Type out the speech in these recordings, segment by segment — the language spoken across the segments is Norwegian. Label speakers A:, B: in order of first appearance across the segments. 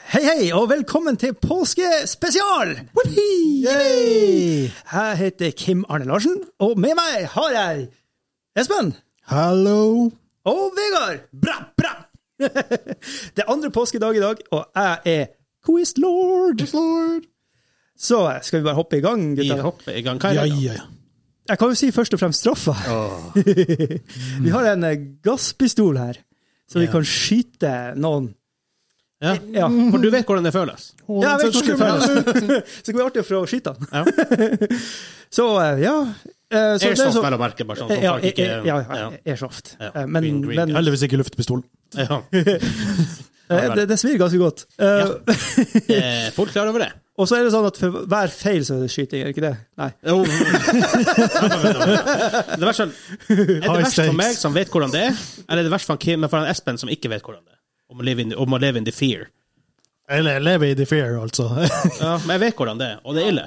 A: Hei, hei, og velkommen til påskespesial! Whoopee!
B: Yay!
A: Jeg heter Kim Arne Larsen, og med meg har jeg Espen
B: Hallo.
A: og Vegard. Bra, bra! Det er andre påskedag i dag, og jeg er Quist Lord. Så skal vi bare hoppe i gang,
C: Vi
A: gutta.
C: hopper i gang. Hva
B: Ja,
C: er det? da?
B: ja, ja.
A: Jeg kan jo si først og fremst straffa. Vi har en eh, gasspistol her, så vi
C: Ja.
A: kan skyte noen.
C: Ja.
A: Ja.
C: For du vet hvordan det føles.
A: Ja, jeg vet
B: Så
A: hvordan det
B: skummelt.
A: føles. Så det kan bli artig å prøve å skyte den.
C: Ja.
A: Så eh, ja. eh, så det er
C: Airsoft,
A: så-
C: vel å merke. bare sånn.
A: Ja,
C: sånn
A: ja, eh,
C: folk ikke,
A: ja, ja, airsoft.
C: Ja,
A: Eh, Men,
C: green, green.
A: men eh,
B: Heldigvis ikke luftpistol.
C: ja.
A: det, det svir ganske godt. Eh,
C: Eh, Folk klar over det?
A: Og så er det sånn at for hver feil så er det skyting, er det ikke det? Nei.
C: Jo. Det verste er det
B: High
C: verst for
B: stakes.
C: meg som vet hvordan det er, eller er det verst for, han Kim, for han Espen som ikke vet hvordan det er? Om å live in, om å live in the fear.
B: Eller lever i the fear, altså.
C: Ja, men jeg vet hvordan det er, og det er ille.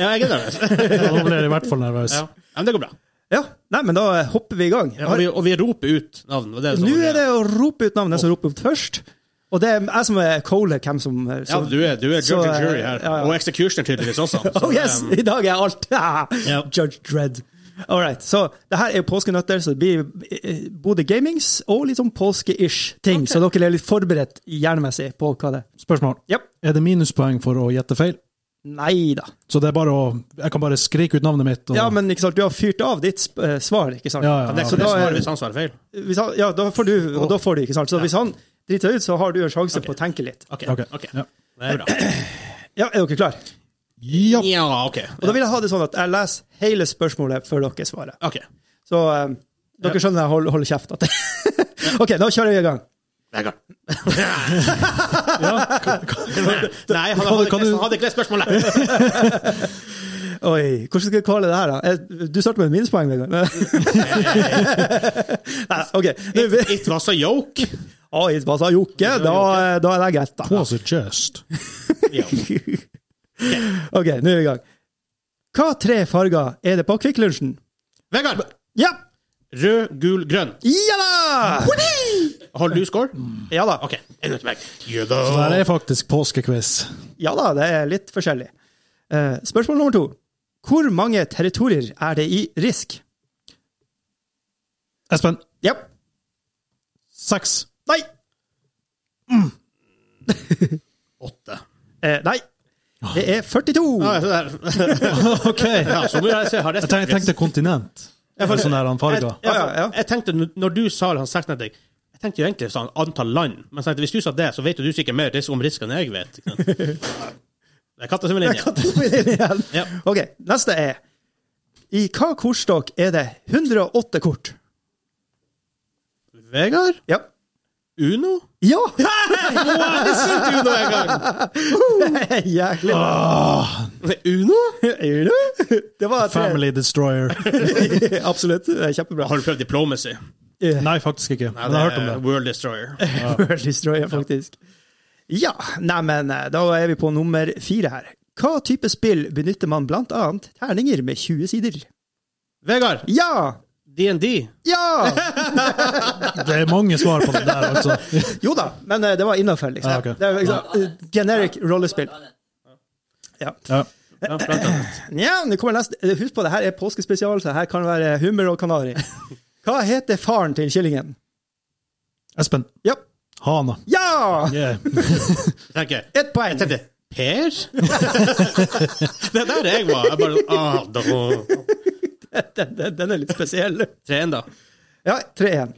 C: Ja, jeg er nervøs.
B: Da blir jeg i hvert fall nervøs.
C: Ja. Men det går bra.
A: Ja, nei, men da eh, hopper vi i gang.
C: Og vi, og vi roper ut navn. Og det er sånn,
A: Nå er det å rope ut navnet, den som roper ut først. Og det er jeg som er caller hvem som eh,
C: Ja,
A: så,
C: du er, du er judge
A: Så,
C: and
A: eh,
C: jury her.
A: ja, ja.
C: Og executioner tydeligvis også. Så,
A: Oh yes!
C: um,
A: I dag er alt
C: Ja.
A: Judge Dredd. All right. Så det her er jo påskenøtter, så det blir eh, både gamings og litt sånn påske-ish ting. Så dere er litt forberedt hjernemessig på hva det er.
B: Spørsmål.
A: Ja.
B: Er det minuspoeng for å gjette feil?
A: Nei da.
B: Så det er bare å Jeg kan bare skrike ut navnet mitt. Og,
A: Ja, men ikke sant, du har fyrt av ditt sp- eh, svar, ikke sant?
B: Ja, ja,
C: det er
B: ja.
C: ikke det
A: da
C: som
A: er-
C: er hvis han svarer feil.
A: Hvis han, ja, da får du, og da får du, ikke sant? Så hvis han driter seg ut, så har du en sjanse på å tenke litt.
C: Ok.
B: Ok,
C: ok.
B: ja.
C: Det er bra.
A: Ja, er dere klar?
B: Ja.
C: Ja, ok.
A: Og da vil jeg ha det sånn at jeg leser hele spørsmålet før dere svarer.
C: Ok.
A: Så eh, dere skjønner jeg holder, holder kjeft. At ok, da kjører vi i gang.
C: Vegard. Nei,
B: Kan
C: han
B: du-
C: hadde ikke
B: kan du-
C: han hadde ikke lest spørsmålet.
A: Oi, hvordan skal vi kalle det her da? Eh, Du starter med et minuspoeng, Vegard. Nei, ok. Nå, vi,
C: It was a joke.
A: oi, hva sa Jokke? Da, eh, da er det greit da.
B: Was it just?
C: Ja.
A: Ok, nå er vi i gang. Hva tre farger er det på Kvikklunsjen?
C: Vegard.
A: Ja!
C: Rød, gul, grønn.
A: Ja da!
C: Har du score?
A: Ja da.
C: Ok. En ut meg. You
B: Det
C: go.
B: her er faktisk påskequiz.
A: Ja da, det er litt forskjellig. Eh, spørsmål nummer to. Hvor mange territorier er det i Risk?
B: Espen.
A: Ja.
B: Seks.
A: Nei.
C: Åtte.
A: Eh, nei. Det er 42.
C: Ja, se der.
B: OK. Jeg
C: Ja, så må jeg se, har det
B: tenk- tenkte kontinent. Sånn der han farga.
C: Jeg,
A: Ja, ja, ja.
C: jeg tenkte, n- når du sa han seks netting, jeg tenkte jo egentlig sånn antall land, men så tenkte, jeg, hvis du sa det, så vet jo du sikkert mer ris- om risk enn jeg vet. ikke sant? Det er katta som vil inn igjen.
A: Igjen.
C: Ja.
A: Ok, neste er I hva kortstokk er det 108 kort?
C: Vegard?
A: Ja.
C: Uno?
A: Ja!
C: Jeg sendte Uno en gang!
A: Jæklig bra.
C: Uno?
A: Er du? Det var tre.
B: Family Destroyer.
A: Absolutt. Det er Kjempebra.
C: Har du prøvd Diplomacy?
B: Nei, faktisk ikke.
C: Nei,
B: Men jeg har hørt om det.
C: er World Destroyer.
A: World Destroyer, faktisk. Ja, neimen, da er vi på nummer fire her. Hva type spill benytter man blant annet terninger med 20 sider?
C: Vegard,
A: Ja!
C: DND.
A: Ja!
B: Det er mange svar på det der, altså.
A: Jo da, men eh, det var innafor, liksom.
B: Ja, ok.
A: Det er liksom eh, generic rollespill. Ja.
B: Ja.
C: Ja, blant annet.
A: Nja, nå kommer neste. Eh, Husk på, det her er påskespesial, så her kan det være hummer og kanari. Hva heter faren til kyllingen?
B: Espen.
A: Ja!
B: Hana.
A: Ja!
B: Yeah.
C: Jeg tenker,
A: Ett poeng.
C: jeg tenkte Per? det er der jeg var. Jeg bare ah, da.
A: Den, den, den er litt spesiell.
C: Tre igjen, da.
A: Ja, 3-1.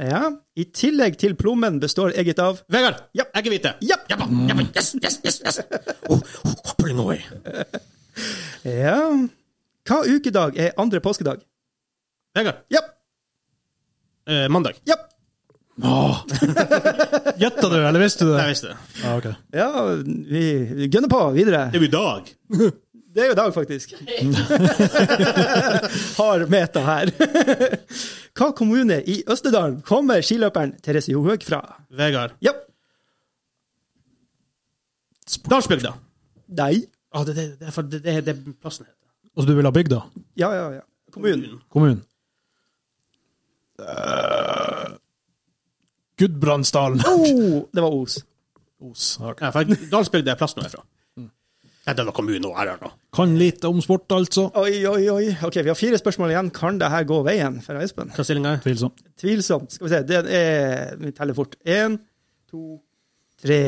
A: Ja. I tillegg til plommen består egget av
C: Vegard,
A: Ja.
C: eggehvite.
A: Ja.
C: Jabba, jabba, yes, yes, yes, yes. Oh, oh, pulling away.
A: Ja. Hva ukedag er andre påskedag?
C: Vegard,
A: Ja.
C: eh, mandag.
A: Ja.
B: Åh. Gjetta du, eller visste du
C: Jeg
B: det?
C: visste det.
B: Ja, ok. Altså,
A: Ja, vi gønner på videre.
C: Det er jo i dag.
A: Det er jo i dag, faktisk. Har meta her. Hva kommune i Østerdalen kommer skiløperen Therese Johaug fra?
C: Vegard.
A: Ja.
C: Dalsbygda.
A: Nei.
C: Ah, det, det, det, er for- det, det, det er plassen heter.
B: Og du vil ha bygda?
A: Ja, ja, ja. Kommunen.
B: Kommunen? Gudbrandsdalen.
A: Oh, det var Os.
B: Os. har-
C: Ja, for Dalsbygd er plassen hun er fra. Nei, det var kommunen hun er fra.
B: Kan litt om sport, altså.
A: Oi, oi, oi. Ok, Vi har fire spørsmål igjen. Kan det her gå veien for Espen?
C: Hva stillinga er?
B: Tvilsomt.
A: Tvilsomt. Skal vi se. Det er, vi teller fort. Én, to, tre,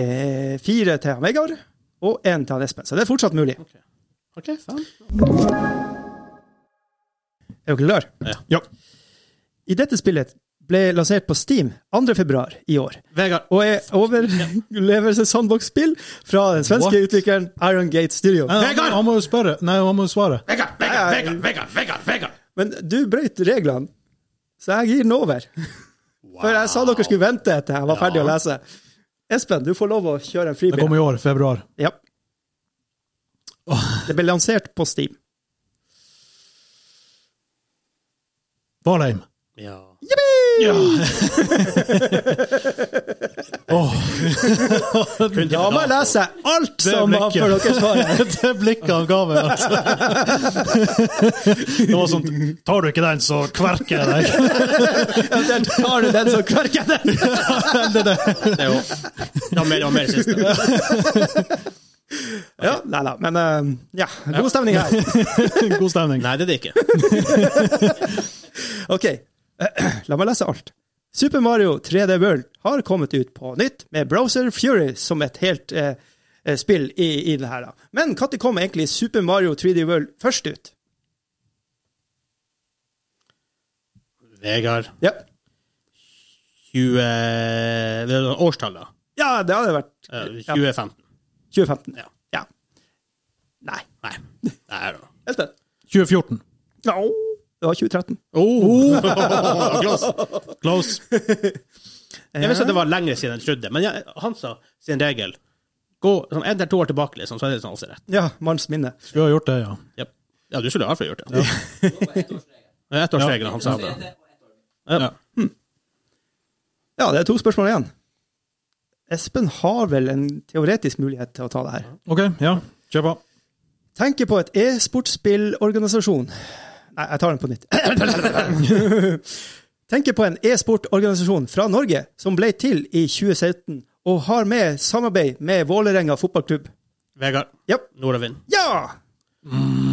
A: fire til han Vegard. Og én til han Espen. Så det er fortsatt mulig.
C: OK, sånn. faen.
A: Er dere klare?
C: Ja.
B: Ja.
A: I dette spillet ble lansert på Steam 2. februar i år.
C: Vegard,
A: Og er overlevelse sandbox-spill fra den svenske
B: What?
A: utvikkeren Iron Gate Studio.
B: Eh, Nei, han,
C: Vegard!
B: han må jo spørre. Nei, han må jo svare.
C: Vegard, Vegard, Vegard, Vegard, Vegard, Vegard.
A: Men du brøyt reglene, så jeg gir den over. For jeg sa dere skulle vente til jeg var ferdig å lese. Espen, du får lov å kjøre en
B: Det
A: fribil.
B: kommer i år, februar.
A: Ja. Det ble lansert på Steam.
B: Valheim.
C: Ja.
B: Ja. Åh,
A: Da må jeg lese alt
B: det
A: som var for
B: blikket.
A: deres svar.
B: det blikket han ga meg, altså. Det var sånn Tar du ikke den, så kverker jeg deg.
A: Der tar du den som kverker den.
C: Det er jo Det var mer, det var mer siste.
A: Ja, nei da. Men eh, ja, god stemning her.
B: God stemning.
C: Nei, det er det ikke.
A: OK, la meg lese alt. Super Mario 3D World har kommet ut på nytt med Browser Fury som et helt eh, eh, spill i, i det her. da. Men når kom egentlig Super Mario 3D World først ut?
C: Vegard
A: Ja,
C: 20... Det er årstallet.
A: ja det hadde vært
C: Eh,
A: ja,
C: 2015.
A: 2015.
C: Ja.
A: Ja. Nei.
C: Nei. Nei, da.
A: Espen?
B: 2014.
A: No. Det var 2013.
C: Oh. Close. Close. Jeg visste at
A: det
C: det var lengre siden enn jeg trodde, men jeg, han sa sin regel. Gå sånn en til to år tilbake, liksom, så er det sånn altså rett.
A: Ja, manns minne.
B: Skulle ha gjort det, ja.
C: Jep. Ja, du skulle i hvert fall gjort det. Ja. Ettårsregelen, han sa det. Ja.
A: Ja, det er to spørsmål igjen. Espen har vel en teoretisk mulighet til å ta det her.
B: OK, ja. Kjør på.
A: Tenker på et e-sportspillorganisasjon Nei, jeg tar den på nytt. Tenker på en e-sportorganisasjon fra Norge som ble til i 2017 og har med samarbeid med Vålerenga fotballklubb.
C: Vegard.
A: Jep.
C: Nordavind.
A: Ja!
C: Mm.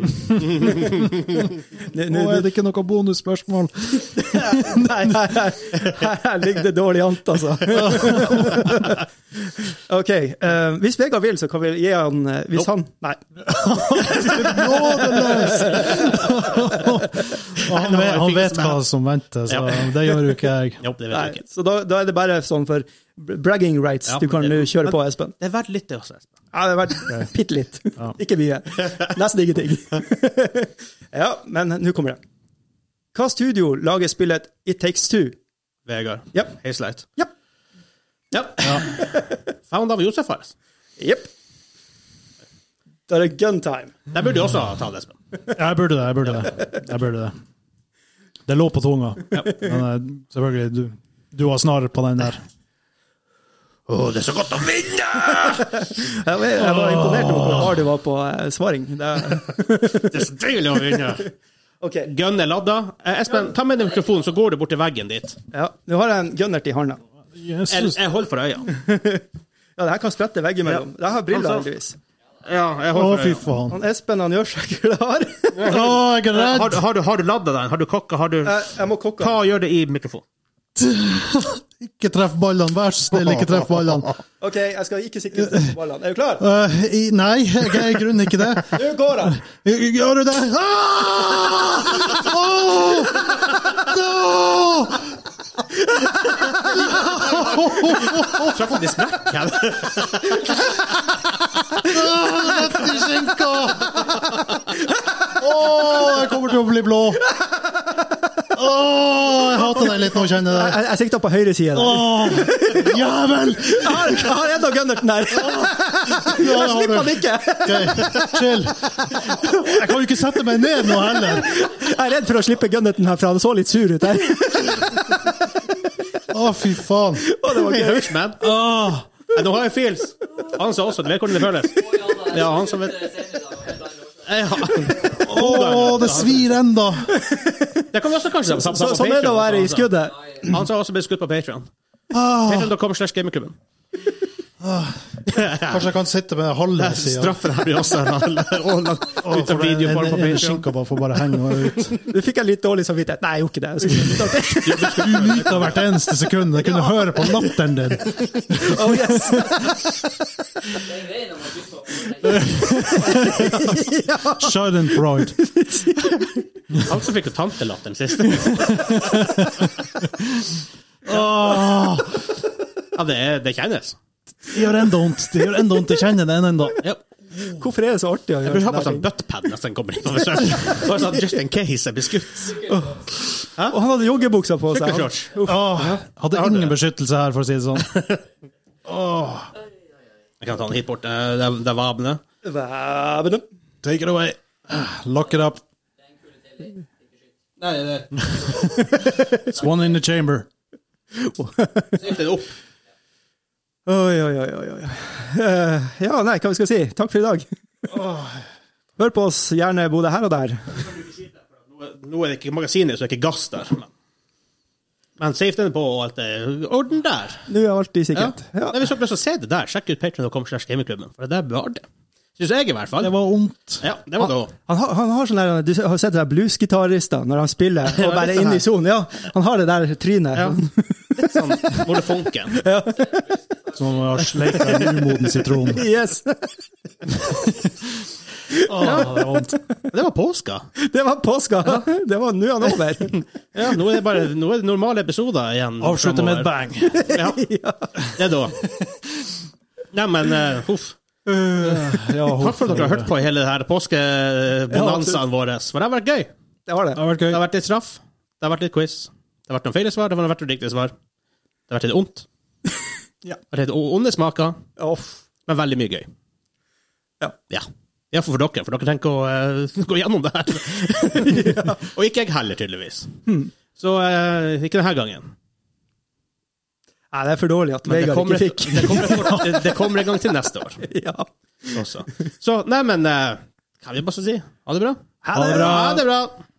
A: Nå-
B: Nå
A: nå-
B: er det ikke noe bonusspørsmål.
A: Nei, nei, nei. Her ligger det dårlig an, altså. OK. eh, hvis Vegard vil, så kan vi gi han eh, Hvis han Nei.
B: Nådeløs! Og han, vet, han vet hva som venter, så det gjør jo ikke jeg.
C: Jo, det vet
A: nei.
C: du ikke.
A: Så da, da er det bare sånn for bragging rights
C: Ja,
A: du kan
C: det-
A: nå kjøre på, Espen.
C: Det er verdt litt, det også. Espen.
A: Ja, det har vært bitte litt. Ikke mye. Nesten ingenting. ja, men nå kommer det. Hva studio lager spillet It Takes Two?
C: Vegard.
A: Jep.
C: Hazelight.
A: Jep.
C: Jep. Found av Josef Fares.
A: Jepp. Da er det gun time.
C: Der burde du også ha talt, Espen.
B: Jeg burde det. Jeg burde det. Jeg burde det. det lå på tunga. Men eh, selvfølgelig, du, du har snar på den der.
C: Å, det er så godt å vinne!
A: Jeg var, jeg var imponert over hvor hard du var på eh, svaring. Det,
C: Det er så deilig å vinne!
A: ok,
C: Gunn er ladda. Eh, Espen, ta med den mikrofonen, så går du bort til veggen dit.
A: ja, Nå har jeg en gunnert i handa.
C: Jeg,
B: Jesus.
C: jeg holder for øya.
A: Ja, det her kan sprette veggimellom. Jeg har briller,
C: Han sa-
A: heldigvis.
C: Ja, jeg
B: Å,
C: holder for
B: fy
C: øya.
B: faen.
A: Han Espen han gjør seg klar.
B: Å, jeg er
C: Har,
B: redd!
C: du- har, du- har du ladda den? Har du kokka? Har du
A: Jeg, jeg må kokke.
C: Ta og gjør det i mikrofonen.
B: Ikke treff ballene, vær så snill, ikke treff ballene.
A: OK, jeg skal ikke sikre på ballene. Er du klar?
B: Eh, i, nei, jeg er i grunnen ikke det.
A: Nå går han!
B: Gjør du det? Ah! Åh! Åh!
C: Traff han i smekken?
B: Åh, Rett i skinka! Åh, jeg kommer til å bli blå. Åh, jeg hater deg litt nå, kjenner jeg det.
A: Jeg, jeg sikta på høyre side. der.
B: Åh, jævel!
A: Jeg har, jeg har en av gunnerten her!
B: Ja, det
A: Jeg
B: har du.
A: slipper han ikke!
B: Ok, chill. Jeg kan jo ikke sette meg ned nå heller.
A: Jeg er redd for å slippe gunnerten herfra. Han så litt sur ut der.
B: Å, fy faen.
A: Å, det var
C: Hey,
A: gøy.
C: Hørts, man.
B: Åh.
C: Eh, Nå har jeg feels. Han sa også at du vet hvordan det føles. Ja, han som vet Eh, ja.
B: Åh, det svir enda.
C: Det kan vi også kanskje ta på
A: Så,
C: altså.
A: sånn er sånn det å være i skuddet.
C: Han sa også ble skutt på Patreon
B: Ah,
C: Patreon.com slash gamingklubben.
B: kanskje jeg kan sitte med halve sida.
C: Straffen her blir også ut av videoform på Patreon.
B: Skinka bare får bare henge ut.
A: Nå fikk jeg litt dårlig samvittighet. Nei, jeg gjorde ikke det. Jeg skulle gjort det.
B: Du nyter hvert eneste sekund. Jeg kunne høre på latteren din.
A: Oh, yes.
D: Det er greia når man blir på
B: Schadenfreude.
C: Han som fikk jo tantelatteren sist. Ja,
B: Ah,
C: det, er- altså. det kjennes.
B: det gjør enda vondt. Det gjør enda vondt. Jeg kjenner den ennå.
C: Ja.
A: Hvorfor er det så artig å
C: Jeg burde
A: gjøre
C: ha på
A: sånn?
C: sånn buttpad når den kommer inn på besøk. Bare sånn, Just in case jeg blir skutt.
A: Og han hadde joggebuksa på seg. Han-
C: Sykkelshorts.
B: Ah, hadde ingen beskyttelse her, for å si det sånn.
C: Jeg kan ta den hit bort. eh, Det er- det er vabene.
A: Væbne.
B: Take it away. Lock it up.
C: Nei, det
B: It's one in the chamber.
C: er den opp.
A: Oi, oi, oi, oi. oi. Eh, ja, nei, hva vi skal si? Takk for i dag. Hør på oss gjerne både her og der.
C: Nå- Nå er det ikke magasiner, så det er ikke gass der. Men, men safety er på, og alt er orden der.
A: Nå er alt i
C: Ja.
A: sikkerhet. Ja.
C: Nei, hvis du har lyst til å se det der, sjekk ut patreon.com slash gamingklubben, for det der var det. Syns jeg, i hvert fall.
B: Det var vondt.
C: Ja, det var det også.
A: Han, har- han har sånn der, Du har sett det der bluesgitarister når han spiller og bare er inne i sonen? Ja, han har det der trynet.
C: Ja. Litt sånn Ole Funken.
B: Som om jeg har sleikt en umoden sitron.
A: Yes!
B: Ah, det var vondt.
C: Det var påska.
A: Det var påska! Det var nå er han over.
C: Ja, nå er det bare nå er det normale episoder igjen.
B: Avslutte med et
C: fremover.
B: bang.
C: Ja. Det da. Neimen, uh, huff.
B: Ja,
C: Takk for at dere har hørt på i hele denne
A: Ja,
C: påskebonanzaen vår. For det har vært gøy.
A: Det var det.
B: Det har vært
C: Det
B: gøy.
C: har vært litt straff. Det har vært litt quiz. Det har vært noen feil svar. Det har vært noen riktige svar. Det har vært litt ondt.
A: Ja.
C: Det har vært litt onde smaker,
A: Off.
C: men veldig mye gøy.
A: Ja.
C: Ja. Iallfall for dere, for dere tenker å eh, gå gjennom det her. Og ikke jeg heller, tydeligvis.
A: Hmm.
C: Så eh, ikke denne gangen.
A: Nei, det er for dårlig at
C: Men det
A: Vegard
C: kommer,
A: ikke
C: et,
A: fikk.
C: det, kommer et, år- det, det kommer en gang til neste år
A: Ja.
C: eh, også. Så neimen uh, Hva vi bare skal si? Ha det bra?
A: Ha det
C: Ha det bra.